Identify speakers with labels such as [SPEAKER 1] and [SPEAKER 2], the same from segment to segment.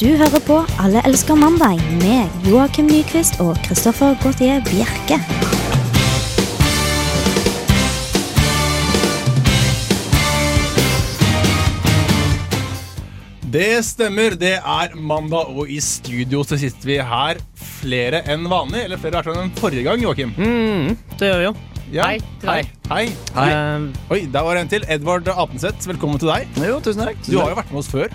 [SPEAKER 1] Du hører på Alle elsker mandag med Joakim Nyquist og Christoffer Gautier Bjerke.
[SPEAKER 2] Det stemmer. Det er mandag, og i studio så sitter vi her flere enn vanlig. Eller flere hvert fall enn forrige gang, Joakim.
[SPEAKER 3] Mm, det gjør vi jo.
[SPEAKER 2] Ja.
[SPEAKER 3] Hei til deg.
[SPEAKER 2] Hei.
[SPEAKER 3] Eh,
[SPEAKER 2] Oi, der var en til. Edvard Apenseth, velkommen til deg.
[SPEAKER 4] Jo, tusen takk.
[SPEAKER 2] Du har jo vært med oss før.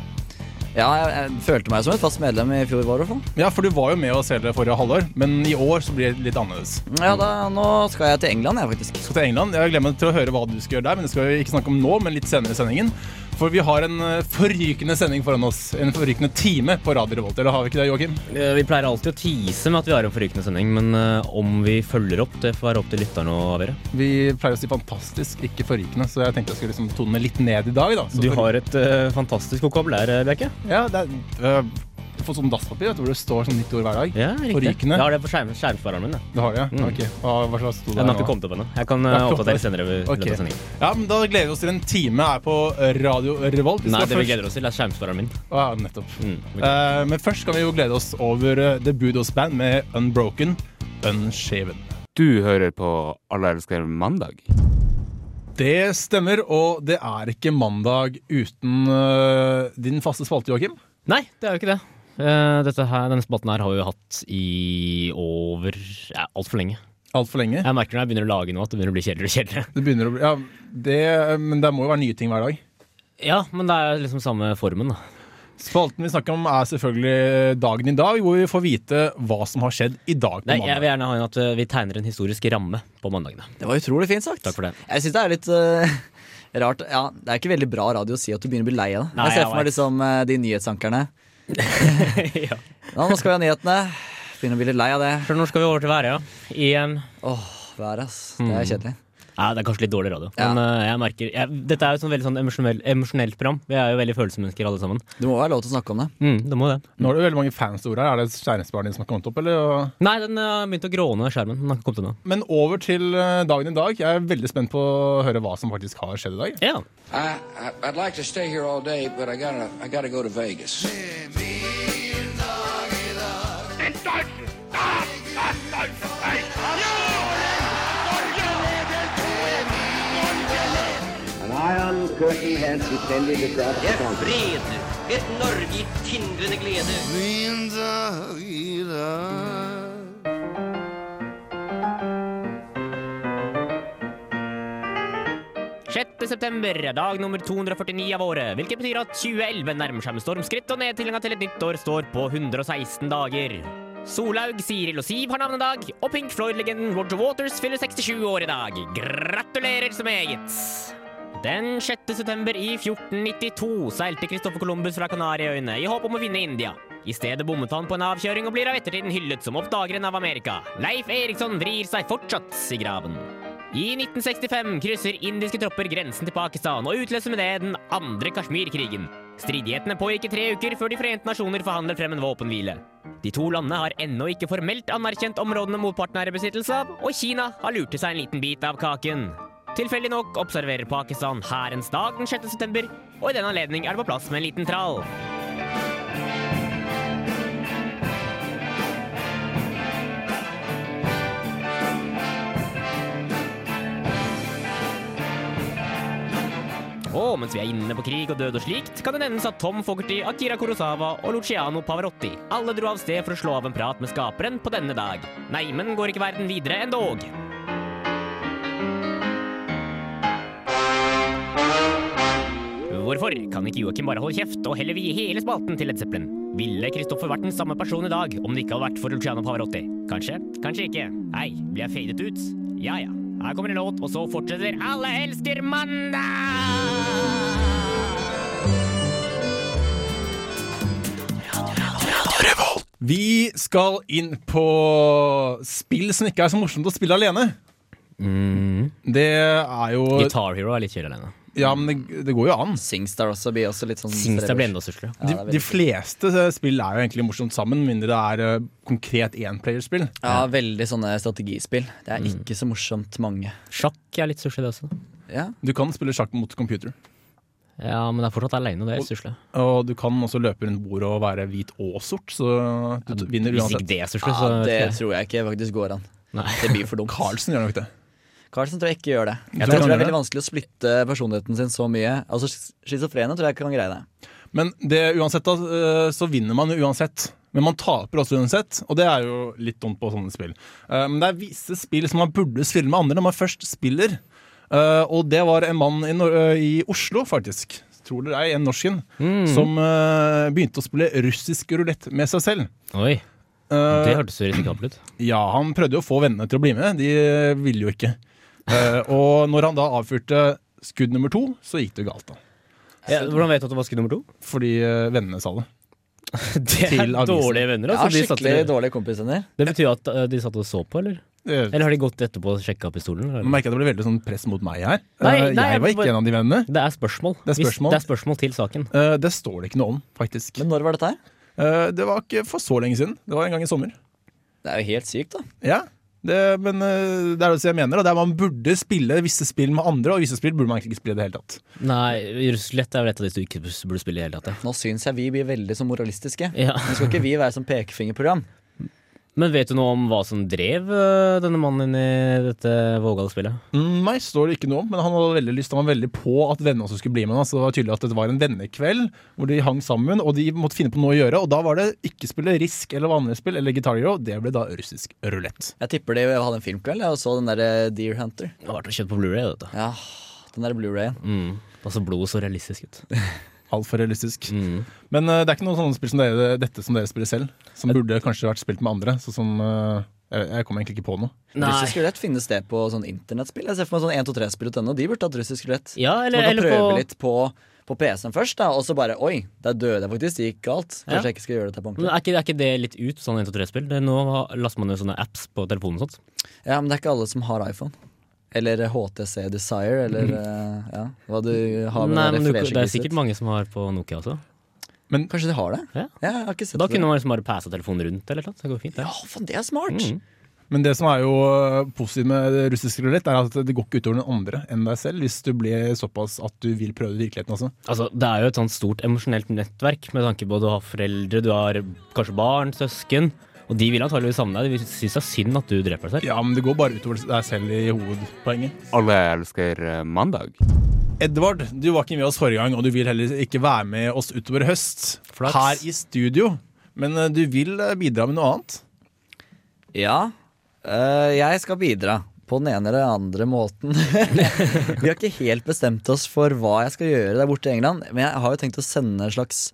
[SPEAKER 4] Ja, jeg, jeg følte meg som et fast medlem i fjor. Var det, for.
[SPEAKER 2] Ja, for du var jo med oss hele forrige halvår, men i år så blir det litt annerledes.
[SPEAKER 4] ja da, Nå skal jeg til England, jeg, faktisk.
[SPEAKER 2] skal til England. Jeg glemmer til å høre hva du skal gjøre der, men det skal vi ikke snakke om nå, men litt senere i sendingen. For vi har en eh, forrykende sending foran oss. En forrykende time på Radio Revolt. Eller har vi ikke det, Joakim?
[SPEAKER 3] eh, vi pleier alltid å tease med at vi har en forrykende sending, men eh, om vi følger opp, det får være opp til lytterne å avgjøre.
[SPEAKER 2] Vi pleier å si fantastisk, ikke forrykende, så jeg tenkte jeg skulle liksom tone litt ned i dag. da. Så
[SPEAKER 3] Du
[SPEAKER 2] for-
[SPEAKER 3] har et eh, fantastisk vokabulær, eh, Bjerke.
[SPEAKER 2] Ja, det er øh, du får sånn dasspapir vet du, hvor det står sånn nytt ord hver dag.
[SPEAKER 3] Ja,
[SPEAKER 2] Forrykende.
[SPEAKER 3] Jeg har det på skjerm, skjermspareren min. jeg.
[SPEAKER 2] Det har jeg.
[SPEAKER 3] Mm.
[SPEAKER 2] Ok. Hva, hva slags sto det
[SPEAKER 3] Den har
[SPEAKER 2] nå?
[SPEAKER 3] ikke kommet opp ennå. Jeg kan eh,
[SPEAKER 2] Det har ikke kommet
[SPEAKER 3] oppdatere
[SPEAKER 2] opp.
[SPEAKER 3] senere. ved-
[SPEAKER 2] Ok.
[SPEAKER 3] denne sendingen.
[SPEAKER 2] Ja, men Da gleder vi oss til en time her på Radio Revolt.
[SPEAKER 3] Nei, det vi gleder oss til, er skjermspareren min.
[SPEAKER 2] Å, ja, Ah, nettopp.
[SPEAKER 3] Mm, ok.
[SPEAKER 2] Eh, men først kan vi jo glede oss over eh, The Budos Band med Unbroken Unshaven.
[SPEAKER 5] Du hører på Alle elsker mandag.
[SPEAKER 2] Det stemmer, og det er ikke mandag uten eh, din faste spalte, Joakim.
[SPEAKER 3] Nei, det er jo ikke det. Eh, dette her, denne spalten her har vi jo hatt i over ja, altfor lenge.
[SPEAKER 2] Altfor lenge.
[SPEAKER 3] Jeg merker når jeg begynner å lage noe, at det begynner å bli kjedeligere og kjedeligere.
[SPEAKER 2] Det begynner å bli Ja, det, men det må jo være nye ting hver dag.
[SPEAKER 3] Ja, men det er liksom samme formen, da.
[SPEAKER 2] Spalten vi snakker om, er selvfølgelig dagen i dag, hvor vi får vite hva som har skjedd i dag. på
[SPEAKER 3] Nei, jeg
[SPEAKER 2] mandag.
[SPEAKER 3] vil gjerne ha en at eh, vi tegner en historisk ramme på mandagene.
[SPEAKER 4] Det var utrolig fint sagt.
[SPEAKER 3] Takk for det.
[SPEAKER 4] Jeg syns det er litt eh, rart. Ja, Det er ikke veldig bra radio å si at du begynner å bli lei av det.
[SPEAKER 3] Nei,
[SPEAKER 4] jeg ser
[SPEAKER 3] jeg
[SPEAKER 4] for meg
[SPEAKER 3] vet.
[SPEAKER 4] liksom eh, de nyhetsankerne.
[SPEAKER 3] ja.
[SPEAKER 4] Ja, nå skal vi ha nyhetene. Begynner å bli litt lei av det.
[SPEAKER 3] For når skal vi over til været, ja? Igjen.
[SPEAKER 4] Åh, været, ass. Det
[SPEAKER 3] Mm.
[SPEAKER 4] er kjedelig.
[SPEAKER 3] Ja, det er kanskje litt dårlig radio,
[SPEAKER 4] Ja.
[SPEAKER 3] men eh, jeg merker jeg, Dette er jo et sånn veldig sånn emosjonell, emosjonelt program. Vi er jo veldig følelsesmennesker alle sammen.
[SPEAKER 4] Det må være lov til å snakke om det.
[SPEAKER 3] Mm, det må det.
[SPEAKER 2] Nå er det veldig mange fanstore her. Er det skjæringsbarnet din som har kommet opp, eller?
[SPEAKER 3] Nei, den eh, har begynt å gråne, skjermen. Den har ikke kommet ennå.
[SPEAKER 2] Men over til eh, dagen i dag. Jeg er veldig spent på å høre hva som faktisk har skjedd i dag.
[SPEAKER 3] Ja.
[SPEAKER 6] I, I I'd like to stay here all day, but I gotta I gotta go to Vegas.
[SPEAKER 7] An iron curtain has descended across the country.
[SPEAKER 8] fred, et Norge i tindrende glede.
[SPEAKER 3] september, dag nummer 249 av året, hvilket betyr at 2011 nærmer seg med stormskritt, og nedtellinga til et nytt år står på 116 dager. Solaug, Siril og Siv har navnedag, og Pink Floyd-legenden Roger Waters fyller 67 år i dag. Gratulerer så meget! Den 6. september i 1492 seilte Christopher Columbus fra Kanariøyene i håp om å finne India. I stedet bommet han på en avkjøring og blir av ettertiden hyllet som oppdageren av Amerika. Leif Eriksson vrir seg fortsatt i graven. I 1965 krysser indiske tropper grensen til Pakistan og utløser med det den andre Kashmir-krigen. Stridighetene pågikk i tre uker før De forente nasjoner forhandler frem en våpenhvile. De to landene har ennå ikke formelt anerkjent områdene motparten er i besittelse av, og Kina har lurt til seg en liten bit av kaken. Tilfeldig nok observerer Pakistan hærens dag den 6. september, og i den anledning er det på plass med en liten trall. Og mens vi er inne på krig og død og slikt, kan det nevnes at Tom Fogerty, Akira Kurosawa og Luciano Pavarotti alle dro av sted for å slå av en prat med skaperen på denne dag. Nei, men går ikke verden videre endog. Hvorfor kan ikke Joakim bare holde kjeft og heller vie hele spalten til Led Zeppelin? Ville Kristoffer vært den samme person i dag om det ikke hadde vært for Luciano Pavarotti? Kanskje, kanskje ikke. Hei, blir jeg fadet ut? Ja ja. Her kommer en låt, og så fortsetter Alle elsker mandag!
[SPEAKER 2] Vi skal inn på spill som ikke er så morsomt å spille alene.
[SPEAKER 3] Mm.
[SPEAKER 2] Det er jo
[SPEAKER 3] Guitar Hero er litt kjør alene.
[SPEAKER 2] Ja, men det, det går jo an.
[SPEAKER 4] Singstar også blir også litt sånn
[SPEAKER 3] Singstar blir enda større.
[SPEAKER 4] Ja,
[SPEAKER 2] De,
[SPEAKER 4] det er
[SPEAKER 2] de
[SPEAKER 4] veldig-
[SPEAKER 2] fleste eh, spill er jo egentlig morsomt sammen, mindre det er eh, konkret énplayerspill.
[SPEAKER 4] Ja, veldig sånne strategispill. Det er
[SPEAKER 3] Mm.
[SPEAKER 4] ikke så morsomt mange.
[SPEAKER 3] Sjakk er litt sushi, det også.
[SPEAKER 4] Ja,
[SPEAKER 2] Du kan spille sjakk mot computer.
[SPEAKER 3] Ja, men det er fortsatt aleine, det er stusslig.
[SPEAKER 2] Og du kan også løpe rundt bordet og være hvit og sort, så du t- vinner
[SPEAKER 3] Hvis ikke
[SPEAKER 2] uansett.
[SPEAKER 3] det er stusslig, så
[SPEAKER 4] Ja,
[SPEAKER 3] vet
[SPEAKER 4] det
[SPEAKER 3] ikke jeg.
[SPEAKER 4] tror jeg ikke faktisk går an.
[SPEAKER 3] Nei.
[SPEAKER 4] Det blir for dumt.
[SPEAKER 2] Carlsen gjør nok det.
[SPEAKER 4] Carlsen tror jeg ikke gjør det.
[SPEAKER 2] tror
[SPEAKER 4] Jeg
[SPEAKER 2] han
[SPEAKER 4] tror, det
[SPEAKER 2] gjør
[SPEAKER 4] er veldig
[SPEAKER 2] det?
[SPEAKER 4] vanskelig å splitte personligheten sin så mye. Altså schis- Schizofrene tror jeg ikke kan greie det.
[SPEAKER 2] Men det uansett da, eh, så vinner man jo uansett. Men man taper også uansett, og det er jo litt dumt på sånne spill. Eh, Men det er visse spill som man burde spille med andre når man først spiller. Eh, Og det var en mann i, Nor eh, i Oslo, faktisk, tror dere ei, en norsken, som eh, begynte å spille russisk rulett med seg selv.
[SPEAKER 3] Oi,
[SPEAKER 2] Eh,
[SPEAKER 3] det hørtes jo risikabelt ut.
[SPEAKER 2] ja, han prøvde jo å få vennene til å bli med. De ville jo ikke. Eh, og når han da avfyrte skudd nummer to, så gikk det jo galt, da.
[SPEAKER 3] Ja, hvordan vet du at det var skudd nummer to?
[SPEAKER 2] Fordi eh, vennene sa det.
[SPEAKER 3] Det er
[SPEAKER 2] Til avisen.
[SPEAKER 3] dårlige venner.
[SPEAKER 4] Jeg
[SPEAKER 3] Altså,
[SPEAKER 4] har
[SPEAKER 3] de
[SPEAKER 4] skikkelig
[SPEAKER 3] satt,
[SPEAKER 4] dårlige kompisvenner.
[SPEAKER 3] det betyr at eh, de satt og så på, eller?
[SPEAKER 2] Eh,
[SPEAKER 3] Eller har de gått etterpå og sjekka pistolen?
[SPEAKER 2] Nå
[SPEAKER 3] Eller?
[SPEAKER 2] merker jeg at det ble veldig sånn press mot meg her.
[SPEAKER 3] Nei,
[SPEAKER 2] Eh,
[SPEAKER 3] nei, jeg
[SPEAKER 2] jeg var ikke
[SPEAKER 3] bare-
[SPEAKER 2] en av de vennene.
[SPEAKER 3] Det er spørsmål.
[SPEAKER 2] Det er
[SPEAKER 3] Hvis-
[SPEAKER 2] spørsmål.
[SPEAKER 3] det er spørsmål til saken.
[SPEAKER 2] Eh, Det står det ikke noe om, faktisk.
[SPEAKER 4] Men når var dette her?
[SPEAKER 2] Eh, Det var ikke for så lenge siden. Det var en gang i sommer.
[SPEAKER 4] Det er jo helt sykt, da.
[SPEAKER 2] Ja, det, men eh, det er det jeg mener. Da. Det er Man burde spille visse spill med andre, og visse spill burde man egentlig ikke spille i det hele tatt.
[SPEAKER 3] Nei, Russelett er vel et av de du ikke burde spille i det hele tatt.
[SPEAKER 4] Nå syns jeg vi blir veldig så moralistiske.
[SPEAKER 3] ja. Ja.
[SPEAKER 4] Men skal ikke vi være som pekefingerprogram?
[SPEAKER 3] Men vet du noe om hva som drev øh, denne mannen i dette vågale spillet?
[SPEAKER 2] Mm, Nei, står det ikke noe om, men han hadde veldig lyst Han var veldig på at vennene også skulle bli med. han, Så det var tydelig at det var en vennekveld hvor de hang sammen, og de måtte finne på noe å gjøre. Og da var det ikke spille Risk eller vanlige spill eller Guitar Hero. Det ble da russisk rulett.
[SPEAKER 4] Jeg tipper de hadde en filmkveld jeg, og så den der Deer Hunter.
[SPEAKER 3] Det har vært kjøpt på Blu-ray, dette.
[SPEAKER 4] Ja, den der Blu-rayen.
[SPEAKER 3] Mm. Altså blodet så realistisk ut.
[SPEAKER 2] Altfor realistisk. Men eh, det er ikke noen sånne spill som dere, dette som dere spiller selv, som burde kanskje vært spilt med andre. Sånn som eh, jeg, jeg kom egentlig ikke på noe.
[SPEAKER 4] Russisk rulett finnes det på sånn internettspill. Jeg ser for meg sånn 123-spill.no. De burde hatt russisk rulett.
[SPEAKER 3] Ja,
[SPEAKER 4] Man
[SPEAKER 3] eller,
[SPEAKER 4] kan
[SPEAKER 3] eller
[SPEAKER 4] prøve
[SPEAKER 3] på
[SPEAKER 4] litt på, på PC-en først, da, og så bare Oi, der døde jeg faktisk. Det gikk galt. Kanskje
[SPEAKER 3] Ja.
[SPEAKER 4] jeg ikke skal gjøre dette på
[SPEAKER 3] men
[SPEAKER 4] ordentlig.
[SPEAKER 3] er ikke, er ikke det litt ut, sånn 1-2-3-spill? Nå har- laster man jo sånne apps på telefonen og sånt.
[SPEAKER 4] Ja, men det er ikke alle som har iPhone. Eller HTC Desire, eller eh, ja, hva du har med
[SPEAKER 3] Mhm. Nei,
[SPEAKER 4] det
[SPEAKER 3] men du, det
[SPEAKER 4] der
[SPEAKER 3] er
[SPEAKER 4] flashy-krysset.
[SPEAKER 3] sikkert mange som har på Nokia også.
[SPEAKER 4] Kanskje de har det?
[SPEAKER 3] Ja.
[SPEAKER 4] jeg har ikke sett
[SPEAKER 3] Da
[SPEAKER 4] det.
[SPEAKER 3] kunne man liksom bare passa telefonen rundt eller noe. Det går fint, det.
[SPEAKER 4] Ja, faen, det er smart!
[SPEAKER 3] Mm.
[SPEAKER 2] Men det som er jo eh, positivt med russisk rulett, er at det går ikke utover den andre enn deg selv, hvis du blir såpass at du vil prøve virkeligheten også.
[SPEAKER 3] Altså, det er jo et sånt stort emosjonelt nettverk med tanke på at du har foreldre, du har kanskje barn, søsken. Og de vil antageligvis savne deg. De vil- synes det er synd at du dreper deg selv.
[SPEAKER 2] Ja, men det går bare utover deg selv i hovedpoenget.
[SPEAKER 9] Alle elsker eh, mandag.
[SPEAKER 2] Edvard, du var ikke med oss forrige gang, og du vil heller ikke være med oss utover høst
[SPEAKER 3] Flaks.
[SPEAKER 2] her i studio. Men eh, du vil eh, bidra med noe annet.
[SPEAKER 4] Ja, eh, jeg skal bidra. På den ene eller andre måten. Vi har ikke helt bestemt oss for hva jeg skal gjøre der borte i England. Men jeg har jo tenkt å sende en slags,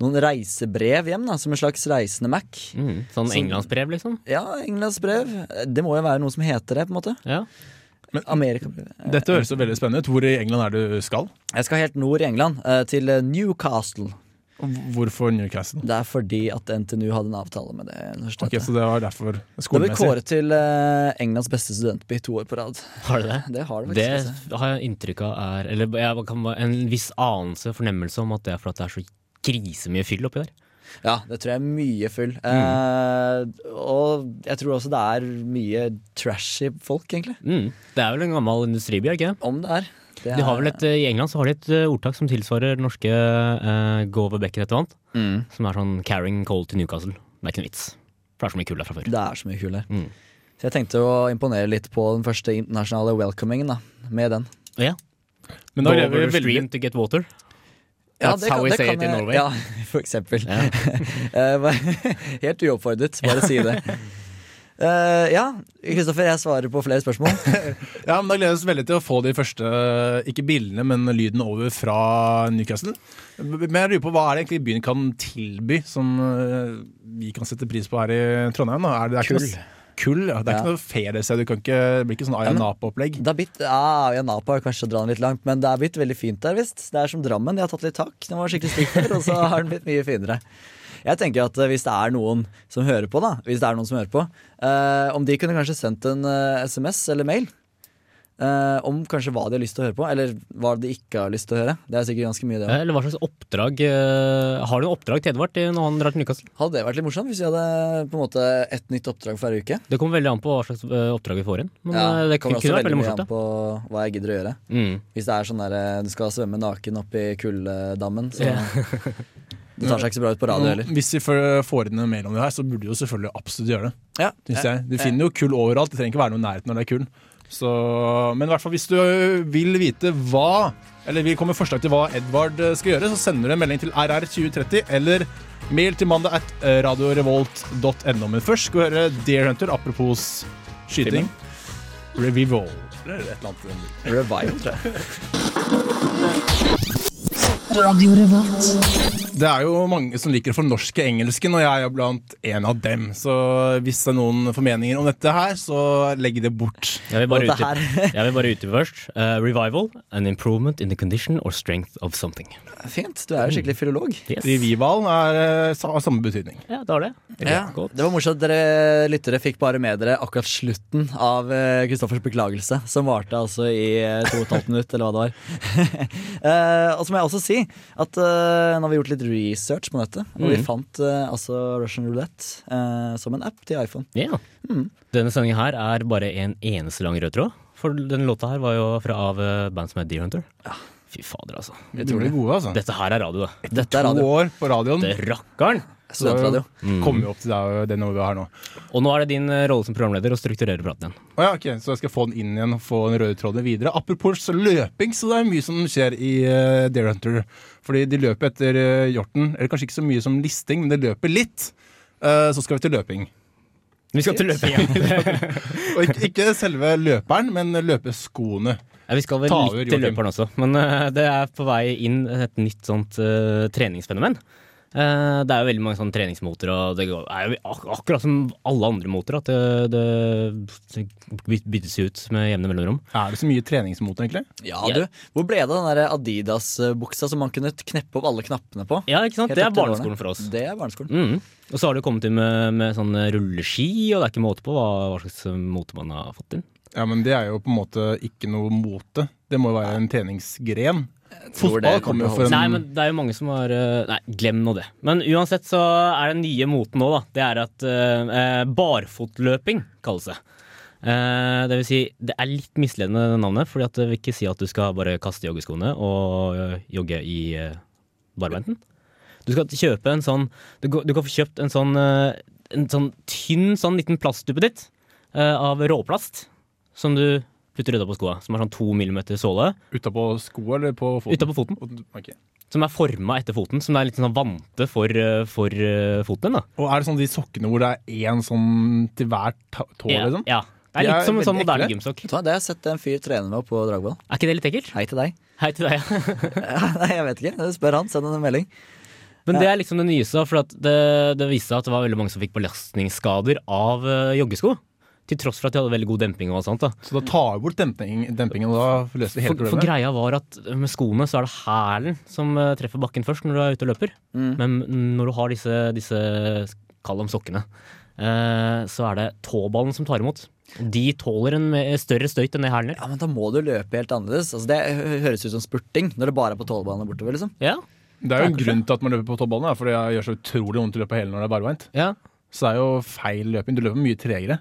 [SPEAKER 4] noen reisebrev hjem, da, som en slags reisende Mac.
[SPEAKER 3] Mm. Sånn englandsbrev, liksom.
[SPEAKER 4] Ja, Englands brev. Det må jo være noe som heter det, på en måte.
[SPEAKER 3] Ja.
[SPEAKER 4] Amerikabrevet.
[SPEAKER 2] Dette høres jo veldig spennende ut. Hvor i England er du skal?
[SPEAKER 4] Jeg skal helt nord i England, eh, til eh, Newcastle.
[SPEAKER 2] Og Hvorfor Newcastle?
[SPEAKER 4] Det er fordi at NTNU hadde en avtale med det
[SPEAKER 2] Ok,
[SPEAKER 4] universitetet.
[SPEAKER 2] Så det var derfor
[SPEAKER 4] det ble
[SPEAKER 2] skolemessig.
[SPEAKER 4] kåret til eh, Englands beste studentby to år på rad.
[SPEAKER 3] Har du det?
[SPEAKER 4] Det har det faktisk. altså.
[SPEAKER 3] Det har jeg inntrykk av er Eller jeg kan ha en viss anelse, fornemmelse om at det er fordi det er så grisemye fyll oppi der.
[SPEAKER 4] Ja, det tror jeg er mye full.
[SPEAKER 3] Mm.
[SPEAKER 4] Eh, og jeg tror også det er mye trashy folk, egentlig.
[SPEAKER 3] Mm. Det er vel en gammel industriby, er det ikke?
[SPEAKER 4] Om det er. Det
[SPEAKER 3] De har
[SPEAKER 4] er-
[SPEAKER 3] vel et, I England så har de et eh, ordtak som tilsvarer det norske eh, go over bekken etter vann.
[SPEAKER 4] Mm.
[SPEAKER 3] Som er sånn carrying coal to Newcastle. Det er ikke noe vits. For det er så mye kull der fra før.
[SPEAKER 4] Det er så mye kul der.
[SPEAKER 3] Mm.
[SPEAKER 4] Så jeg tenkte å imponere litt på den første internasjonale welcomingen, da. Med den.
[SPEAKER 3] Ja.
[SPEAKER 2] Men
[SPEAKER 3] Go
[SPEAKER 2] da lever
[SPEAKER 3] over
[SPEAKER 2] vi veldig
[SPEAKER 3] stream to get water.
[SPEAKER 4] Ja,
[SPEAKER 3] That's how we say it in
[SPEAKER 4] jeg-
[SPEAKER 3] Norway.
[SPEAKER 4] Ja, for eksempel. Eh, bare- Helt uoppfordret, bare si det. Eh, ja, Kristoffer, jeg svarer på flere spørsmål.
[SPEAKER 2] Ja, men Da gleder vi oss veldig til å få de første, ikke bildene, men lyden over fra Newcastle. Men jeg lurer på, hva er det egentlig byen kan tilby som eh, vi kan sette pris på her i Trondheim? Da? Er det, det er ikke
[SPEAKER 4] Kull.
[SPEAKER 2] noe- Kull, ja. Det er
[SPEAKER 4] Ja.
[SPEAKER 2] ikke noe feriested. Du kan ikke, det blir ikke sånn Aya
[SPEAKER 4] men-
[SPEAKER 2] Napa-opplegg.
[SPEAKER 4] Det er blitt, ja, ja, Napa er kanskje å dra den litt langt, men det er blitt veldig fint der, visst. Det er som Drammen, de har tatt litt tak. Den var skikkelig stygg før, og så har den blitt mye finere. Jeg tenker at eh, Hvis det er noen som hører på, da Hvis det er noen som hører på eh, om de kunne kanskje sendt en eh, SMS eller mail eh, om kanskje hva de har lyst til å høre på, eller hva de ikke har lyst til å høre. Det er sikkert ganske mye, det også.
[SPEAKER 3] Eller hva slags oppdrag eh, Har du noe oppdrag til Edvard til når han drar til Newcastle?
[SPEAKER 4] Hadde det vært litt morsomt hvis vi hadde på en måte et nytt oppdrag for hver uke?
[SPEAKER 3] Det kommer veldig an på hva slags eh, oppdrag vi får inn. Men eh, det kunne
[SPEAKER 4] kommer
[SPEAKER 3] vært
[SPEAKER 4] også veldig
[SPEAKER 3] veldig
[SPEAKER 4] mye
[SPEAKER 3] morsomt.
[SPEAKER 4] an på hva jeg gidder å gjøre.
[SPEAKER 3] Ja. Mm.
[SPEAKER 4] Hvis det er sånn der eh, du skal svømme naken oppi kulddammen, så Det tar seg ikke så bra ut på radio heller.
[SPEAKER 2] Hvis vi får får inn en mail om det her, så burde du jo selvfølgelig absolutt gjøre det.
[SPEAKER 4] Ja,
[SPEAKER 2] Synes jeg. Du finner jo kull overalt. Det trenger ikke være noe i nærheten når det er kull. Så, men i hvert fall hvis du øh, vil vite hva Eller vil komme med forslag til hva Edvard øh, skal gjøre, så sender du en melding til RR2030 eller mail til mandag at øh, radiorevolt.no. Men først skal vi høre Deer Hunter, apropos skyting. Revival. Eller et eller annet.
[SPEAKER 4] Revival, tror jeg.
[SPEAKER 2] Det er jo mange som liker å fornorske engelsken, og jeg er blant en av dem. Så hvis det er noen formeninger om dette her, så legg det bort.
[SPEAKER 3] Jeg vil bare
[SPEAKER 4] Og det
[SPEAKER 3] utdype Jeg vil bare utdype først. Eh, revival. An improvement in the condition or strength of something.
[SPEAKER 4] Fint. Du er jo skikkelig filolog.
[SPEAKER 3] Yes.
[SPEAKER 2] Revival er, eh, sa- har samme betydning.
[SPEAKER 3] Ja, det har det.
[SPEAKER 4] Ja,
[SPEAKER 3] Godt.
[SPEAKER 4] det var morsomt at dere lyttere fikk bare med dere akkurat slutten av eh, Kristoffers beklagelse, som varte altså i eh, to og et halvt minutt, eller hva det var. Eh, og så må jeg også si at eh, nå har vi gjort litt research på nettet, og
[SPEAKER 3] Mm.
[SPEAKER 4] vi fant eh, altså Russian Roulette eh, som en app til iPhone.
[SPEAKER 3] Ja. Denne sendingen her er bare en eneste lang rød tråd. For den låta her var jo fra av eh, band som het Deer Hunter. Fy fader, altså.
[SPEAKER 2] Jeg tror de blir gode, altså.
[SPEAKER 3] Dette her er radio, da.
[SPEAKER 4] Dette er
[SPEAKER 2] to
[SPEAKER 4] radio.
[SPEAKER 2] år på radioen.
[SPEAKER 3] Det rakker'n!
[SPEAKER 4] Studentradio.
[SPEAKER 2] Kommer jo opp til deg og det nivået her nå.
[SPEAKER 3] Og nå er det din eh, rolle som programleder å strukturere praten igjen.
[SPEAKER 2] Å ja, ok, Så jeg skal få den inn igjen og få den røde tråden videre. Apropos løping, så det er mye som skjer i eh, Deer Hunter. Fordi de løper etter eh, hjorten. Eller kanskje ikke så mye som listing, men de løper litt. Eh, så skal vi til løping.
[SPEAKER 3] Vi skal til løping. Ja.
[SPEAKER 2] Og ikke, ikke selve løperen, men løpeskoene.
[SPEAKER 3] vi skal vel
[SPEAKER 2] Ta over,
[SPEAKER 3] litt til
[SPEAKER 2] Joakim.
[SPEAKER 3] løperen også. Men eh, det er på vei inn et nytt sånt eh, treningsfenomen. Eh, det er jo veldig mange sånne treningsmotorer, og det går- er jo ak akkurat som alle andre motorer, at det, det, det byttes jo ut med jevne mellomrom.
[SPEAKER 2] Er det så mye treningsmot, egentlig?
[SPEAKER 4] Ja, du. Hvor ble det av den der Adidas-buksa som man kunne kneppe opp alle knappene på?
[SPEAKER 3] Ja, ikke sant?
[SPEAKER 4] Helt
[SPEAKER 3] Det er
[SPEAKER 4] opp til lårene.
[SPEAKER 3] barneskolen for oss.
[SPEAKER 4] Det er barneskolen.
[SPEAKER 3] Mm. Og så har det jo kommet inn med, med sånn rulleski, og det er ikke måte på hva, hva slags mote man har fått inn.
[SPEAKER 2] Ja, men det er jo på en måte ikke noe mote. Det må jo være en treningsgren.
[SPEAKER 4] tror det
[SPEAKER 2] Fotball kommer jo
[SPEAKER 4] kommer til å
[SPEAKER 2] for en
[SPEAKER 3] Nei, men det er jo mange som har eh, Nei, glem nå det. Men uansett så er den nye moten nå, da. Det er at eh, eh, barfotløping kalles det. Eh, det vil si, det er litt misledende det navnet, Fordi at det vil ikke si at du skal bare kaste joggeskoene og eh, jogge i uh, barbeinten. Du skal kjøpe en sånn Du, går- du kan få kjøpt en sånn, eh, en sånn tynn sånn liten plastduppe ditt eh, av råplast som du putter utapå skoa. Som er sånn to millimeter såle
[SPEAKER 2] Utapå sko eller på foten?
[SPEAKER 3] utapå foten.
[SPEAKER 2] Ok.
[SPEAKER 3] Som er forma etter foten, som er litt sånn vante for, eh, for eh, foten din. da.
[SPEAKER 2] Og er det sånn de sokkene hvor det er én sånn til hver ta- tå,
[SPEAKER 3] Ja,
[SPEAKER 2] liksom?
[SPEAKER 3] ja. Det er
[SPEAKER 2] De
[SPEAKER 3] litt
[SPEAKER 2] er
[SPEAKER 3] som en sånn
[SPEAKER 2] veldig
[SPEAKER 3] moderne
[SPEAKER 2] ekle.
[SPEAKER 3] gymsokk.
[SPEAKER 4] Vet du hva, Det har jeg sett en fyr trene med på dragball.
[SPEAKER 3] Er ikke det litt ekkelt?
[SPEAKER 4] Hei til deg.
[SPEAKER 3] Hei til deg. ja.
[SPEAKER 4] Nei, jeg vet ikke. Spør han. Send han en melding.
[SPEAKER 3] Men det er liksom det nyeste, for at det, det viste seg at det var veldig mange som fikk belastningsskader av eh, joggesko. Til tross for at de hadde veldig god demping. og alt sånt da.
[SPEAKER 2] Så da tar vi bort demping, dempingen, og da løser vi hele
[SPEAKER 3] For, for
[SPEAKER 2] problemet?
[SPEAKER 3] greia var at med skoene så er det hælen som eh, treffer bakken først når du er ute og løper.
[SPEAKER 2] Mm.
[SPEAKER 3] Men når du har disse, disse kall dem sokkene, eh, så er det tåballen som tar imot. De tåler en eh, større støyt enn det hælen gjør.
[SPEAKER 4] Ja, men Da må du løpe helt annerledes. Altså, det hø- høres ut som spurting når det bare er på tolvbanen og bortover. liksom
[SPEAKER 3] Ja.
[SPEAKER 2] Det er jo en grunn til at man løper på tåballen, da, for det gjør så utrolig vondt å løpe hele når det er barbeint.
[SPEAKER 3] ja.
[SPEAKER 2] Så det er jo feil løping. Du løper mye tregere.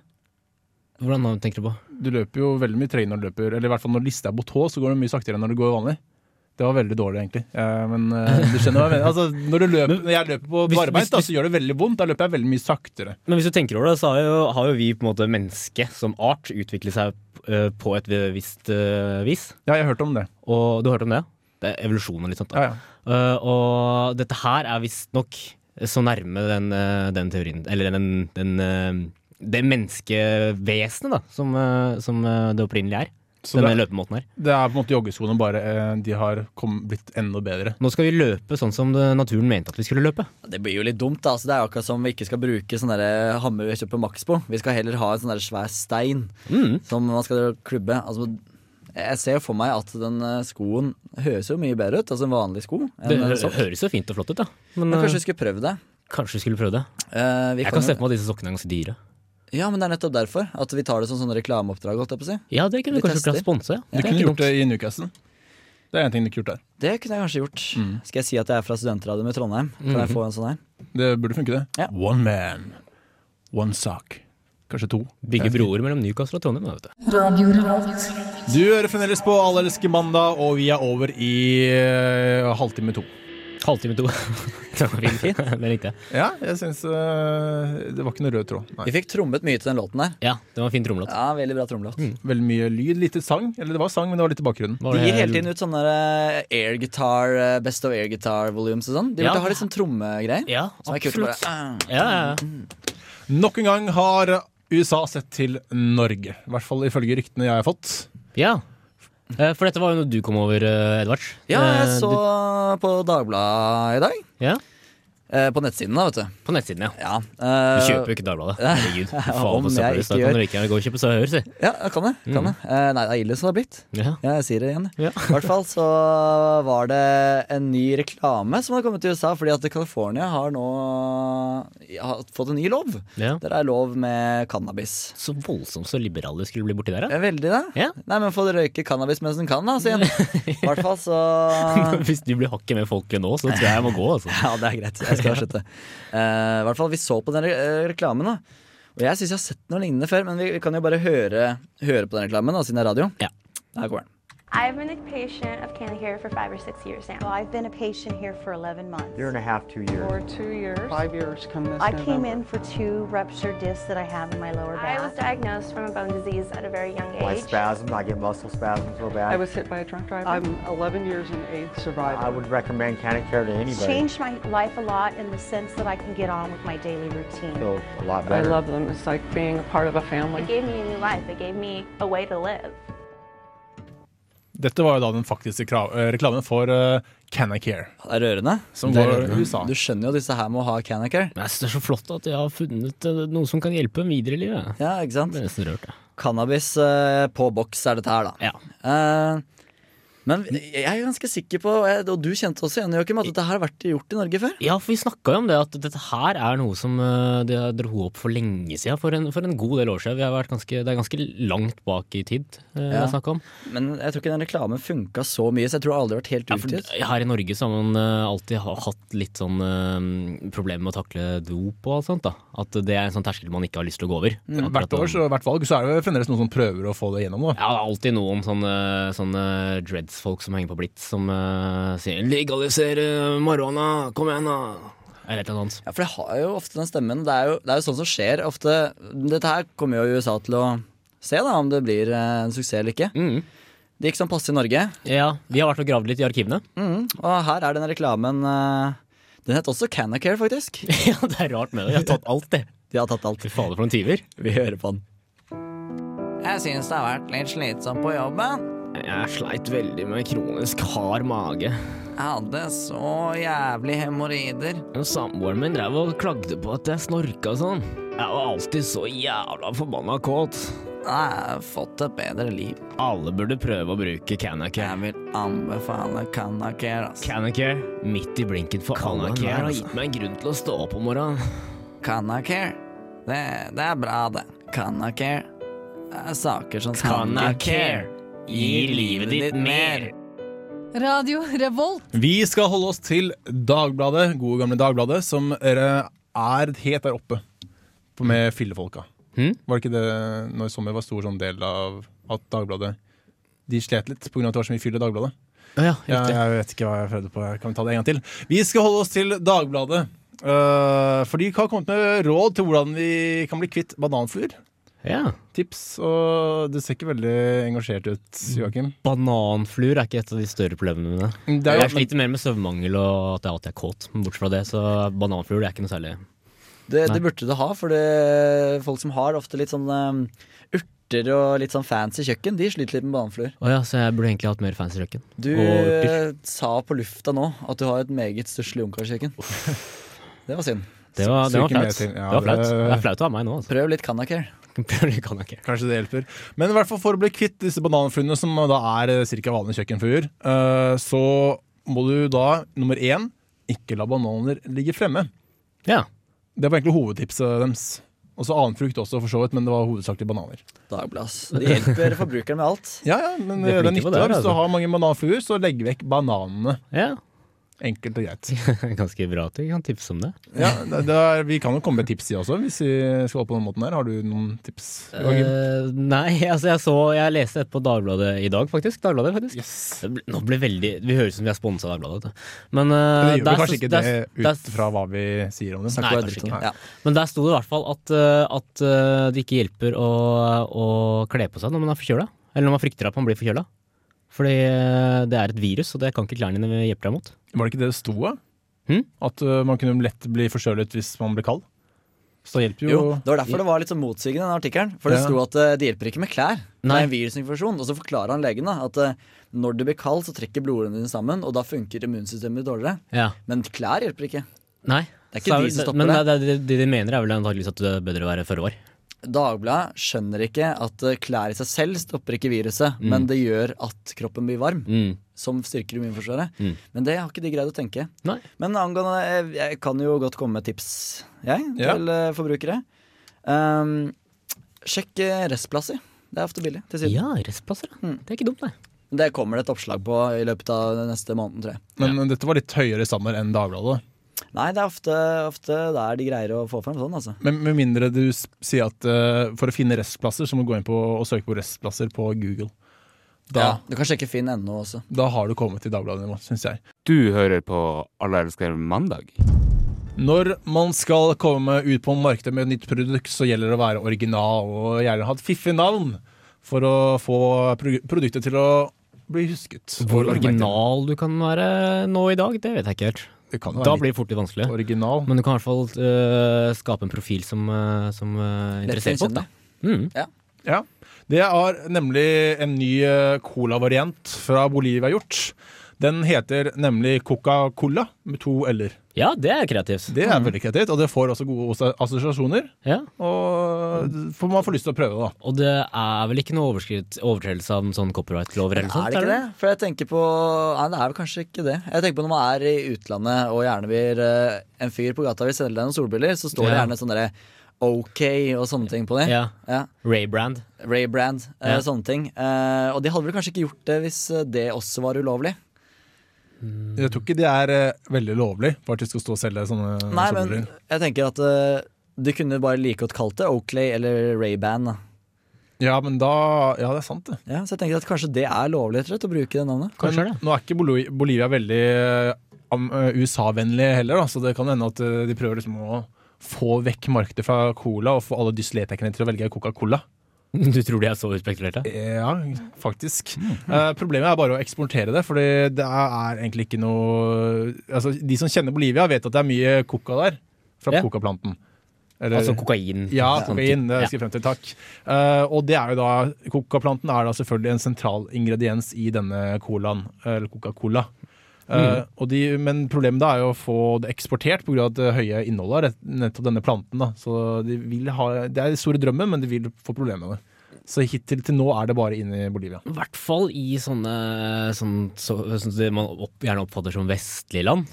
[SPEAKER 3] Hvordan da, tenker du på?
[SPEAKER 2] Du løper jo veldig mye tregere når du løper, eller i hvert fall når lista er på tå, så går det mye saktere enn når du går vanlig. Det var veldig dårlig, egentlig. Eh, men eh, du skjønner hva jeg mener. Altså, når, du løper, når jeg løper på
[SPEAKER 3] hvis- hvis-
[SPEAKER 2] barbeint, da, så gjør det veldig vondt. Da løper jeg veldig mye saktere.
[SPEAKER 3] Men hvis du tenker over det, så har jo, har jo vi på en måte mennesket som art utviklet seg eh, på et visst eh, vis.
[SPEAKER 2] Ja, jeg har hørt om det.
[SPEAKER 3] Og du har hørt om det? Det er evolusjonen og litt sånt. da.
[SPEAKER 2] Ja, ja.
[SPEAKER 3] Eh, og dette her er visstnok så nærme den, eh, den teorien, eller den, den eh, det menneskevesenet da, som, eh, som eh, det opprinnelige er.
[SPEAKER 2] Så
[SPEAKER 3] denne
[SPEAKER 2] det,
[SPEAKER 3] løpemåten her.
[SPEAKER 2] det er på en måte joggeskoene, bare eh, de har kom, blitt enda bedre.
[SPEAKER 3] Nå skal vi løpe sånn som det- naturen mente at vi skulle løpe.
[SPEAKER 4] Det blir jo litt dumt. da altså, Det er jo akkurat som vi ikke skal bruke sånn der hammer vi kjøper på Max på. Vi skal heller ha en sånn der svær stein
[SPEAKER 3] Mm.
[SPEAKER 4] som man skal klubbe. Altså, jeg ser jo for meg at den eh, skoen høres jo mye bedre ut. Altså en vanlig sko.
[SPEAKER 3] Det
[SPEAKER 4] enn en
[SPEAKER 3] hø-
[SPEAKER 4] sokk.
[SPEAKER 3] høres jo fint og flott ut, da. Men,
[SPEAKER 4] Men
[SPEAKER 3] eh,
[SPEAKER 4] kanskje vi skulle prøvd det.
[SPEAKER 3] kanskje vi skulle prøve det.
[SPEAKER 4] Eh, vi
[SPEAKER 3] Jeg
[SPEAKER 4] kan
[SPEAKER 3] kan
[SPEAKER 4] jo-
[SPEAKER 3] se på meg at disse sokkene er ganske dyre.
[SPEAKER 4] Ja, men det er nettopp derfor. At vi tar det som sånn reklameoppdrag. holdt jeg på å si.
[SPEAKER 3] Ja, det kunne
[SPEAKER 4] Vi
[SPEAKER 3] vi kanskje
[SPEAKER 4] tester.
[SPEAKER 3] klart sponse. Ja.
[SPEAKER 2] Du
[SPEAKER 3] Det er
[SPEAKER 2] kunne
[SPEAKER 3] ikke
[SPEAKER 2] gjort det
[SPEAKER 3] dumt.
[SPEAKER 2] i Newcastle. Det er en ting du ikke gjort der.
[SPEAKER 4] Det kunne jeg kanskje gjort.
[SPEAKER 3] Mm.
[SPEAKER 4] Skal jeg si at jeg er fra studentradioen i Trondheim? Kan jeg få en sånn her?
[SPEAKER 2] Det burde funke, det.
[SPEAKER 4] Ja.
[SPEAKER 2] One man, one sock. Kanskje to.
[SPEAKER 3] Bygge broer mellom Newcastle og Trondheim. da, Vet du.
[SPEAKER 2] Du hører fremdeles på Allelske mandag, og vi er over i eh, halvtime to.
[SPEAKER 3] Halvtime to. det var fint. det likte jeg.
[SPEAKER 2] Ja, jeg syns eh, Det var ikke noe rød tråd. Nei.
[SPEAKER 4] Vi fikk trommet mye til den låten der.
[SPEAKER 3] Ja, det var en fin trommelåt.
[SPEAKER 4] Ja, Veldig bra trommelåt.
[SPEAKER 2] Veldig mye lyd, lite sang. Eller det var sang, men det var litt i bakgrunnen.
[SPEAKER 3] Var
[SPEAKER 4] De
[SPEAKER 3] Mm. det-
[SPEAKER 4] gir hele tiden ut sånne eh, air guitar, eh, best of air guitar volumes og sånn. De
[SPEAKER 3] Ja.
[SPEAKER 4] burde ha litt sånn trommegreier.
[SPEAKER 3] Ja,
[SPEAKER 4] Som er kult å bare,
[SPEAKER 3] absolutt.
[SPEAKER 4] ah.
[SPEAKER 3] Ja, ja, ja.
[SPEAKER 2] Nok en gang har USA sett til Norge. I hvert fall ifølge ryktene jeg har fått.
[SPEAKER 3] Ja. Eh, For dette var jo noe du kom over, eh, Edvards.
[SPEAKER 4] Ja, jeg
[SPEAKER 3] Eh,
[SPEAKER 4] så
[SPEAKER 3] du-
[SPEAKER 4] på Dagbladet i dag.
[SPEAKER 3] ja,
[SPEAKER 4] Eh, På nettsiden, da, vet du.
[SPEAKER 3] På nettsiden, ja.
[SPEAKER 4] Ja,
[SPEAKER 3] Du
[SPEAKER 4] eh,
[SPEAKER 3] kjøper jo ikke Dagbladet. Herregud. Faen,
[SPEAKER 4] om
[SPEAKER 3] for
[SPEAKER 4] jeg
[SPEAKER 3] søppel.
[SPEAKER 4] ikke
[SPEAKER 3] Da kan
[SPEAKER 4] gjør.
[SPEAKER 3] du ikke gå og kjøpe Sør Høyre, si.
[SPEAKER 4] ja, kan det. Kan det. Eh, Nei, det er ille som det har blitt.
[SPEAKER 3] Ja.
[SPEAKER 4] Ja, jeg sier det igjen.
[SPEAKER 3] Mm. Ja.
[SPEAKER 4] I hvert fall så var det en ny reklame som hadde kommet til USA, fordi at California har nå har fått en ny lov.
[SPEAKER 3] Ja.
[SPEAKER 4] Der er lov med cannabis.
[SPEAKER 3] Så voldsomt så liberale de skulle bli borti der,
[SPEAKER 4] Det
[SPEAKER 3] da.
[SPEAKER 4] er veldig det.
[SPEAKER 3] Ja.
[SPEAKER 4] Nei, men få røyke cannabis mens den kan, da, sier han. I hvert fall så
[SPEAKER 3] Hvis du blir hakket mer folkelig nå, så tror jeg jeg må gå, altså.
[SPEAKER 4] Ja, det er greit. Jeg skal slutte. Eh, I hvert fall, vi så på den re eh, reklamen, da. Og jeg syns jeg har sett noe lignende før, men vi vi kan jo bare høre, høre på den reklamen, da, siden det er radio.
[SPEAKER 3] Ja.
[SPEAKER 4] Der går den.
[SPEAKER 10] I've been a patient of Canacare for five or six years now. I've been a patient here for 11 months.
[SPEAKER 8] Year and a half, two years. Or two years. Five years come this
[SPEAKER 10] I came in for two ruptured discs that I have in my lower back. I was diagnosed from a bone disease at a very young
[SPEAKER 8] I spasms, I get muscle spasms so bad. I was hit by a drunk driver. I'm 11 years and eighth survivor. I would recommend Care to
[SPEAKER 10] It's
[SPEAKER 8] anybody.
[SPEAKER 10] changed my life a lot in the sense that I can get on with my daily routine.
[SPEAKER 8] Feel a lot better. I love them. It's like being a part of a
[SPEAKER 10] It
[SPEAKER 8] family.
[SPEAKER 10] gave me a new life. It gave me a way to live.
[SPEAKER 2] Dette var jo da den faktiske krav, eh, reklamen for eh, Canacare.
[SPEAKER 4] Det er rørende.
[SPEAKER 2] Som
[SPEAKER 4] Det er
[SPEAKER 2] går
[SPEAKER 4] rørende.
[SPEAKER 2] USA.
[SPEAKER 4] Du skjønner jo disse her må ha Canacare.
[SPEAKER 3] Men jeg synes det er så flott at jeg har funnet eh, noe som kan hjelpe dem videre i livet.
[SPEAKER 4] Ja,
[SPEAKER 3] Jeg
[SPEAKER 4] ikke
[SPEAKER 3] ble
[SPEAKER 4] sant?
[SPEAKER 3] nesten rørt, jeg.
[SPEAKER 4] Cannabis eh, på boks er dette her, da.
[SPEAKER 3] Ja.
[SPEAKER 4] Eh, men jeg er ganske sikker på, og jeg- og du kjente også igjen, Joakim, at dette her har vært gjort i Norge før.
[SPEAKER 3] Ja, for vi snakka jo om det, at dette her er noe som eh, det dro opp for lenge siden. For en, for en god del år siden. Vi har vært ganske, det er ganske langt bak i tid eh, det
[SPEAKER 4] Ja.
[SPEAKER 3] er snakk om.
[SPEAKER 4] Men jeg tror ikke den reklamen funka så mye, så jeg tror det aldri har vært helt
[SPEAKER 3] Ja, for
[SPEAKER 4] utgitt.
[SPEAKER 3] her i Norge så har man eh, alltid ha- hatt litt sånn eh, problemer med å takle dop og alt sånt. da. At det er en sånn terskel man ikke har lyst til å gå over. Akkurat
[SPEAKER 2] Mm, Hvert år,
[SPEAKER 3] om-
[SPEAKER 2] så, hvert valg, så er det jo fremdeles noen som prøver å få det gjennom. Da.
[SPEAKER 3] Ja, det er alltid noen sånne, sånne dreads-folk som henger på blitz, som eh, sier 'legalisere marihuana, kom igjen, da'. Eller et eller annet sånt.
[SPEAKER 4] Ja, for det har jo ofte den stemmen. Det er jo, det er jo sånn som skjer ofte. Dette her kommer jo USA til å se da, om det blir eh, en suksess eller ikke.
[SPEAKER 3] Mm.
[SPEAKER 4] Det gikk sånn passe i Norge.
[SPEAKER 3] Ja, vi har vært og gravd litt i arkivene.
[SPEAKER 4] Og her er den reklamen eh, Den het også Canacare, faktisk.
[SPEAKER 3] ja, det er rart med det. Jeg har tatt alt, det.
[SPEAKER 4] De har tatt alt.
[SPEAKER 3] Fy fader, for noen tyver.
[SPEAKER 4] Vi hører på den. Jeg syns det har vært litt slitsomt på jobben.
[SPEAKER 3] Jeg sleit veldig med kronisk hard mage.
[SPEAKER 4] Jeg hadde så jævlig hemoroider.
[SPEAKER 3] Samboeren min drev og klagde på at jeg snorka sånn. Jeg var alltid så jævla forbanna kåt.
[SPEAKER 4] Jeg har fått et bedre liv.
[SPEAKER 3] Alle burde prøve å bruke Canacare.
[SPEAKER 4] vil anbefale Canacare, altså.
[SPEAKER 3] Canacare, midt i blinken for Canacare, har gitt meg en grunn til å stå opp om morgenen.
[SPEAKER 4] Canacare. Det, det er bra, det. Canacare. Det er saker som
[SPEAKER 3] Canacare gir livet ditt mer.
[SPEAKER 11] Radio Revolt.
[SPEAKER 2] Vi skal holde oss til Dagbladet, gode gamle Dagbladet, som dere er helt der oppe på- med fillefolka.
[SPEAKER 3] Hm?
[SPEAKER 2] Var det ikke det når sommer var stor sånn del av at Dagbladet De slet litt pga. at det var så mye fyll i Dagbladet.
[SPEAKER 3] Ja,
[SPEAKER 2] Ja,
[SPEAKER 3] riktig.
[SPEAKER 2] jeg vet ikke hva jeg prøvde på. Kan vi ta det en gang til? Vi skal holde oss til Dagbladet. eh, for de har kommet med råd til hvordan vi kan bli kvitt bananfluer.
[SPEAKER 3] Ja.
[SPEAKER 2] Tips. Og du ser ikke veldig engasjert ut, Joakim.
[SPEAKER 3] Bananfluer er ikke et av de større problemene mine.
[SPEAKER 2] Det er jo-
[SPEAKER 3] jeg sliter mer med søvnmangel og at jeg alltid er kåt. Men bortsett fra det, så bananfluer det er ikke noe særlig.
[SPEAKER 4] Det,
[SPEAKER 3] Nei.
[SPEAKER 4] det burde du ha, for det, folk som har ofte litt sånn um, urter og litt sånn fancy kjøkken, de sliter litt med bananfluer.
[SPEAKER 3] Å ja, så jeg burde egentlig hatt mer fancy kjøkken.
[SPEAKER 4] Du
[SPEAKER 3] Og urter.
[SPEAKER 4] eh, sa på lufta nå at du har et meget stusslig ungkarskjøkken. Det var synd.
[SPEAKER 3] Det var, det var
[SPEAKER 2] Stryker med
[SPEAKER 3] flaut.
[SPEAKER 2] til- ja,
[SPEAKER 3] det var flaut.
[SPEAKER 2] det-
[SPEAKER 3] Det er flaut å ha meg nå, altså.
[SPEAKER 4] Prøv litt Canacare.
[SPEAKER 3] Det kan jeg ikke.
[SPEAKER 2] Kanskje det hjelper. Men i hvert fall for å bli kvitt disse bananfluene, som da er eh, ca. vanlige kjøkkenfluer, eh, så må du da, nummer én, ikke la bananer ligge fremme.
[SPEAKER 3] Ja.
[SPEAKER 2] Det var egentlig hovedtipset deres. Og så annen frukt også, for så vidt, men det var hovedsakelig bananer.
[SPEAKER 4] Dagblass. De hjelper forbrukeren med alt.
[SPEAKER 2] Ja, ja, men det, altså. er nyttig. da. Hvis du har mange bananfluer, så legg vekk bananene. Enkelt og greit.
[SPEAKER 3] Ganske bra at vi kan tipse om det.
[SPEAKER 2] Ja, det, det er, Vi kan jo komme med tips i også, hvis vi skal holde på den måten her. Har du noen tips? Joakim?
[SPEAKER 3] Eh, nei, altså jeg så Jeg leste et på Dagbladet i dag, faktisk. Dagbladet, faktisk. Det ble, nå ble veldig Vi høres ut som vi er sponsa av Dagbladet. vet du. Men eh,
[SPEAKER 2] det gjør
[SPEAKER 3] der
[SPEAKER 2] vi kanskje
[SPEAKER 3] så-
[SPEAKER 2] ikke
[SPEAKER 3] der-
[SPEAKER 2] det
[SPEAKER 3] der-
[SPEAKER 2] ut fra hva vi sier om det.
[SPEAKER 3] Nei, kanskje ikke. Men der sto det i hvert fall at, eh, at eh, det ikke hjelper å, å kle på seg når man er forkjøla. Eller når man frykter at man blir forkjøla. Fordi eh, det er et virus, og det kan ikke klærne dine hjelpe deg mot.
[SPEAKER 2] Var det ikke det det sto? da? At ø, man kunne lett bli forkjølet hvis man ble kald. Så det hjelper jo.
[SPEAKER 4] Jo, Det var derfor det var litt sånn motsigende, den artikkelen. For det
[SPEAKER 2] Ja.
[SPEAKER 4] sto at eh, det hjelper ikke med klær. Det
[SPEAKER 2] Nei.
[SPEAKER 4] er en virusinfeksjon. Og så forklarer han legen da, at eh, når du blir kald, så trekker blodårene dine sammen, og da funker immunsystemet ditt dårligere.
[SPEAKER 3] Ja.
[SPEAKER 4] Men klær hjelper ikke.
[SPEAKER 3] Nei.
[SPEAKER 4] Det
[SPEAKER 3] Så
[SPEAKER 4] er ikke de som stopper
[SPEAKER 3] men
[SPEAKER 4] det.
[SPEAKER 3] det. er- det de mener, er vel antakeligvis at det er bedre å være føre var.
[SPEAKER 4] Dagbladet skjønner ikke at eh, klær i seg selv stopper ikke viruset,
[SPEAKER 3] Mm.
[SPEAKER 4] men det gjør at kroppen blir varm.
[SPEAKER 3] Mm.
[SPEAKER 4] Som styrker immunforsvaret.
[SPEAKER 3] Mm.
[SPEAKER 4] Men det har ikke de greid å tenke.
[SPEAKER 3] Nei.
[SPEAKER 4] Men angående jeg, jeg kan jo godt komme med tips, jeg,
[SPEAKER 3] Ja.
[SPEAKER 4] til eh, forbrukere. Um, sjekk eh, restplasser. Det er ofte billig. Til siden.
[SPEAKER 3] Ja, restplasser. Det er ikke dumt, nei.
[SPEAKER 4] Det kommer det et oppslag på i løpet av den neste måneden, tror jeg.
[SPEAKER 2] Men dette var litt høyere standard enn Dagbladet.
[SPEAKER 4] Nei, det er ofte, ofte der de greier å få frem sånn, altså.
[SPEAKER 2] Men med mindre du s- sier at ø, for å finne restplasser, så må du gå inn på og søke på restplasser på Google. Da,
[SPEAKER 4] Ja, du kan sjekke finn.no også.
[SPEAKER 2] da har du kommet til Dagbladet-nivå, syns jeg.
[SPEAKER 9] Du hører på Alle elsker mandag.
[SPEAKER 2] Når man skal komme ut på markedet med et nytt produkt, så gjelder det å være original og gjerne ha et fiffig navn for å få pro- produktet til å bli husket.
[SPEAKER 3] Hvor original du kan være nå i dag, det vet jeg ikke helt.
[SPEAKER 2] kan jo
[SPEAKER 3] da
[SPEAKER 2] være
[SPEAKER 3] blir det fort litt vanskelig.
[SPEAKER 2] Original.
[SPEAKER 3] Men du kan i hvert fall øh, skape en profil som, øh, som øh, interesserer folk, da. Mm.
[SPEAKER 4] Ja.
[SPEAKER 2] Ja. Det er nemlig en ny eh, cola-variant fra Bolivia gjort. Den heter nemlig Coca-Cola med to l-er.
[SPEAKER 3] Ja, det er kreativt.
[SPEAKER 2] Det
[SPEAKER 4] Mm.
[SPEAKER 2] er veldig kreativt, og det får også gode osa- assosiasjoner. Og eh, får man får lyst til å prøve det, da.
[SPEAKER 3] Og det er vel ikke noe overskritt- overtredelse av en sånn copyright-lover eller noe
[SPEAKER 4] Er
[SPEAKER 3] sånt?
[SPEAKER 4] det ikke det? For jeg tenker på Nei, det er vel kanskje ikke det. Jeg tenker på når man er i utlandet og gjerne vil eh, En fyr på gata vil selge deg noen solbriller, så står det
[SPEAKER 3] Ja.
[SPEAKER 4] gjerne sånn derre OK og sånne ting på dem.
[SPEAKER 3] Ja.
[SPEAKER 4] Ja.
[SPEAKER 3] Ray-brand.
[SPEAKER 4] Ray-brand,
[SPEAKER 3] Ja.
[SPEAKER 4] sånne ting. Eh, og de hadde vel kanskje ikke gjort det hvis eh, det også var ulovlig. Mm.
[SPEAKER 2] Jeg tror ikke det er eh, veldig lovlig for at de skal stå og selge sånne
[SPEAKER 4] Nei, men
[SPEAKER 2] solbriller.
[SPEAKER 4] jeg tenker at eh, du kunne bare like godt kalt det Oakley eller Ray-Ban. da.
[SPEAKER 2] Ja, men da Ja, det er sant, det.
[SPEAKER 4] Ja, så jeg tenker at kanskje det er lovlig rett og slett, å bruke det navnet.
[SPEAKER 2] Men Nå er ikke Boli- Bolivia veldig eh, am- eh, USA-vennlig heller, da, så det kan hende at eh, de prøver liksom å få vekk markedet fra cola og få alle dyslektikerne til å velge Coca-Cola.
[SPEAKER 3] Du tror de er så utspekulerte?
[SPEAKER 2] Ja, faktisk. Eh, problemet er bare å eksportere det, fordi det er egentlig ikke noe Altså, De som kjenner Bolivia, vet at det er mye coca der. Fra coca-planten. Eller-
[SPEAKER 3] Altså kokain.
[SPEAKER 2] Ja,
[SPEAKER 3] Sånn
[SPEAKER 2] kokain.
[SPEAKER 3] typ.
[SPEAKER 2] Det
[SPEAKER 3] Ja.
[SPEAKER 2] skal jeg frem til. Takk. Eh, og det er jo da Coca-planten er da selvfølgelig en sentral ingrediens i denne colaen, eller Coca-Cola. Eh,
[SPEAKER 3] Mm.
[SPEAKER 2] og de, men problemet da er jo å få det eksportert pga. det høye innholdet av rett- nettopp denne planten. Da. Så de vil ha, Det er den store drømmen, men de vil få problemer med det. Så hittil til nå er det bare inne i Bolivia.
[SPEAKER 3] I hvert fall i sånne, sånn, så, sånn det man opp, gjerne oppfatter som vestlige land.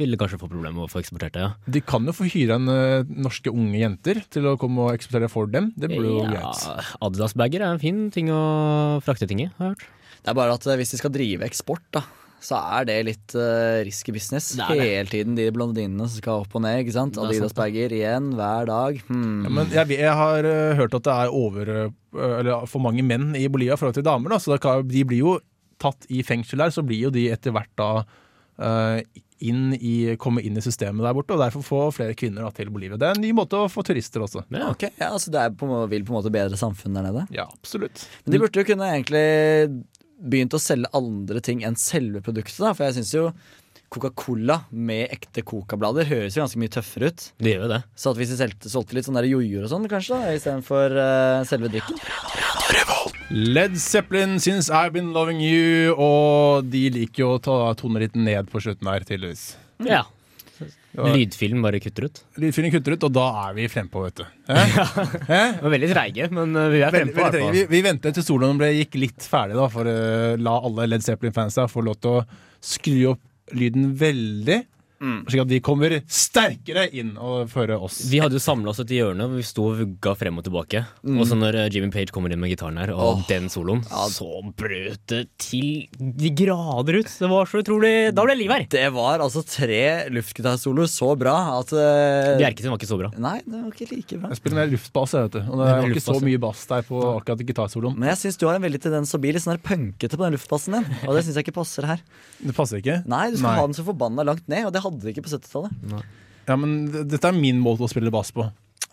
[SPEAKER 3] Ville kanskje få problemer med å få eksportert det, ja.
[SPEAKER 2] De kan jo få hyre en eh, norske unge jenter til å komme og eksportere for dem. Det blir jo
[SPEAKER 3] Ja,
[SPEAKER 2] greit.
[SPEAKER 3] Adidas-bager er en fin ting å frakte ting i, har jeg hørt.
[SPEAKER 4] Det er bare at eh, hvis de skal drive eksport, da, så er det litt eh, risky business.
[SPEAKER 3] Det er det.
[SPEAKER 4] Hele tiden de blondinene som skal opp og ned. ikke sant?
[SPEAKER 3] er sant, det.
[SPEAKER 4] Adidas-bager igjen hver dag. Hmm.
[SPEAKER 2] Ja, men jeg, jeg har eh, hørt at det er over, eh, eller for mange menn i Bolivia i forhold til damer. Da, så det kan, de blir jo tatt i fengsel der, så blir jo de etter hvert da eh, inn i, komme inn i systemet der borte. Og derfor få flere kvinner da, til Bolivia. Det er en ny måte å få turister også.
[SPEAKER 4] Ok, ja, altså Det er på, en må- vil på en måte bedre samfunn der nede.
[SPEAKER 2] Ja, absolutt.
[SPEAKER 4] Men de burde jo kunne egentlig begynt å selge andre ting enn selve produktet. da, For jeg syns jo Coca-Cola med ekte Coca-blader høres jo ganske mye tøffere ut.
[SPEAKER 3] Det gjør jo det.
[SPEAKER 4] Så at hvis de solgte, solgte litt sånne der jojoer og sånn, kanskje, da, istedenfor uh, selve drikken.
[SPEAKER 2] Led Zeppelin syns I've Been Loving You, og de liker jo å ta tonen litt ned på slutten her, tydeligvis.
[SPEAKER 3] Ja.
[SPEAKER 2] Ja.
[SPEAKER 3] Lydfilm bare kutter ut.
[SPEAKER 2] Lydfyren kutter ut, og da er vi frempå, vet du. Hæ? Hæ?
[SPEAKER 3] Vi er veldig treige, men eh, vi er
[SPEAKER 2] Veldig, veldig
[SPEAKER 3] frempå. i
[SPEAKER 2] trenge.
[SPEAKER 3] hvert
[SPEAKER 2] vi,
[SPEAKER 3] fall.
[SPEAKER 2] vi ventet til soloen ble, gikk litt ferdig, da, eh, for å la alle Led Zeppelin-fansa få lov til å skru opp lyden veldig.
[SPEAKER 3] Mm.
[SPEAKER 2] Slik at de kommer sterkere inn og fører oss.
[SPEAKER 3] Vi hadde jo samla oss et hjørne, hvor vi sto og vugga frem og tilbake.
[SPEAKER 2] Mm.
[SPEAKER 3] Og så når eh, Jimmy Page kommer inn med gitaren her, og
[SPEAKER 2] Åh.
[SPEAKER 3] den soloen, så brøt det til de grader ut. Det var så utrolig Da ble det liv her!
[SPEAKER 4] Det var altså tre luftgitarsoloer så bra at uh,
[SPEAKER 3] Bjerke sin var ikke så bra.
[SPEAKER 4] Nei, det var ikke like bra.
[SPEAKER 2] Jeg spiller mer luftbass, jeg, vet du. Og det
[SPEAKER 4] Mer
[SPEAKER 2] er jo ikke så
[SPEAKER 4] luftbass, ja.
[SPEAKER 2] mye bass der på akkurat gitarsoloen.
[SPEAKER 4] Men jeg syns du har en veldig tendens til å bli litt sånn her punkete på den luftbassen din. Og det syns jeg ikke passer her.
[SPEAKER 2] Det passer ikke.
[SPEAKER 4] Nei, du skal ha den så forbanna langt ned, og det hadde du ikke på 70-tallet.
[SPEAKER 2] Ja, men d- dette er min måte å spille bass på.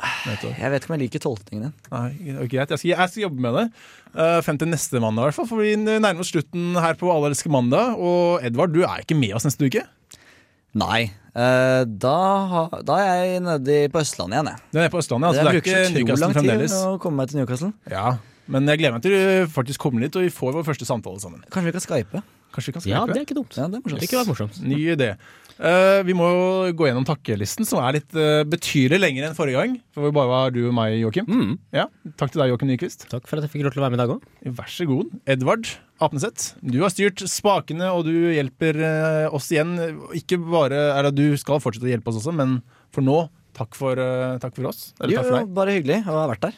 [SPEAKER 2] Jeg
[SPEAKER 4] vet ikke om jeg liker tolkningen din.
[SPEAKER 2] Nei, det er greit. Jeg skal, jeg skal jobbe med det. Eh, frem til neste mandag, i hvert fall. For vi nærmer oss slutten her på Alle elsker mandag. Og Edvard, du er ikke med oss neste uke.
[SPEAKER 4] Nei. eh, da, ha- da er jeg nede i- på Østlandet igjen, jeg.
[SPEAKER 2] Du er på Østlandet, altså. Det er,
[SPEAKER 4] bruker
[SPEAKER 2] ikke
[SPEAKER 4] utrolig
[SPEAKER 2] Newcastle
[SPEAKER 4] lang tid
[SPEAKER 2] fremdeles.
[SPEAKER 4] å komme meg til Newcastle.
[SPEAKER 2] Ja, Men jeg gleder meg til du faktisk kommer dit, og vi får vår første samtale sammen.
[SPEAKER 4] Kanskje vi kan skype?
[SPEAKER 2] Kanskje vi kan skype?
[SPEAKER 3] Ja, det er ikke dumt.
[SPEAKER 4] Ja, det er morsomt.
[SPEAKER 3] Det kunne vært morsomt.
[SPEAKER 2] Ny idé. Eh, vi må jo gå gjennom takkelisten, som er litt eh, betydelig lengre enn forrige gang. For hvor bare var du og meg, Joakim.
[SPEAKER 3] Mm.
[SPEAKER 2] Ja, takk til deg, Joakim Nyquist.
[SPEAKER 3] Takk for at jeg fikk lov til å være med i dag òg.
[SPEAKER 2] Vær så god. Edvard Apneseth, du har styrt spakene, og du hjelper eh, oss igjen. Ikke bare eller du skal fortsette å hjelpe oss også, men for nå, takk for, eh, takk for oss. Eller
[SPEAKER 4] Jo,
[SPEAKER 2] takk for deg.
[SPEAKER 4] bare hyggelig å ha vært der.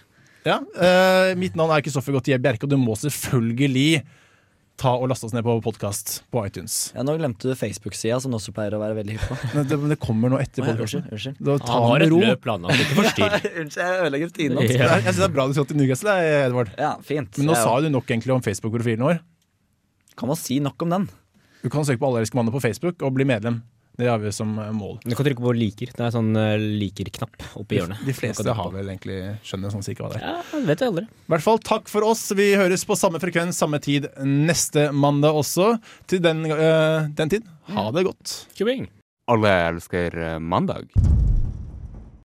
[SPEAKER 2] Ja, eh, Mitt navn er Kristoffer Gautier Bjerke, og du må selvfølgelig ta og laste oss ned på podkast på iTunes.
[SPEAKER 4] Ja, nå glemte du Facebook-sida, som du også pleier å være veldig hypp på.
[SPEAKER 2] Men det, men det kommer nå etter
[SPEAKER 4] Å, ja,
[SPEAKER 2] podcasten.
[SPEAKER 4] unnskyld, unnskyld.
[SPEAKER 2] Da
[SPEAKER 4] Han
[SPEAKER 2] ta
[SPEAKER 4] har
[SPEAKER 2] med
[SPEAKER 4] et
[SPEAKER 2] ro.
[SPEAKER 4] løp planlagt, ikke forstyrr. Unnskyld, jeg ødelegger rutinen hans.
[SPEAKER 2] Ja. Jeg synes det er bra du skal til Newcastle, eh, Edvard.
[SPEAKER 4] Ja, fint.
[SPEAKER 2] Men nå
[SPEAKER 4] Jeg
[SPEAKER 2] sa
[SPEAKER 4] òg.
[SPEAKER 2] jo du nok egentlig om Facebook-profilen vår.
[SPEAKER 4] Kan man si nok om den?
[SPEAKER 2] Du kan søke på Alle elsker mandag på Facebook og bli medlem. Det har vi som eh, mål.
[SPEAKER 3] Du kan trykke på liker. Det er sånn eh, liker-knapp oppe i hjørnet.
[SPEAKER 2] De fleste
[SPEAKER 3] Du kan trykke
[SPEAKER 2] har
[SPEAKER 3] på.
[SPEAKER 2] vel egentlig skjønner sånn cirka hva det er.
[SPEAKER 3] Ja, det vet jeg aldri.
[SPEAKER 2] I hvert fall takk for oss. Vi høres på samme frekvens, samme tid neste mandag også. Til den, eh, den tid, ha det godt.
[SPEAKER 3] Kubing.
[SPEAKER 9] Alle elsker eh, mandag.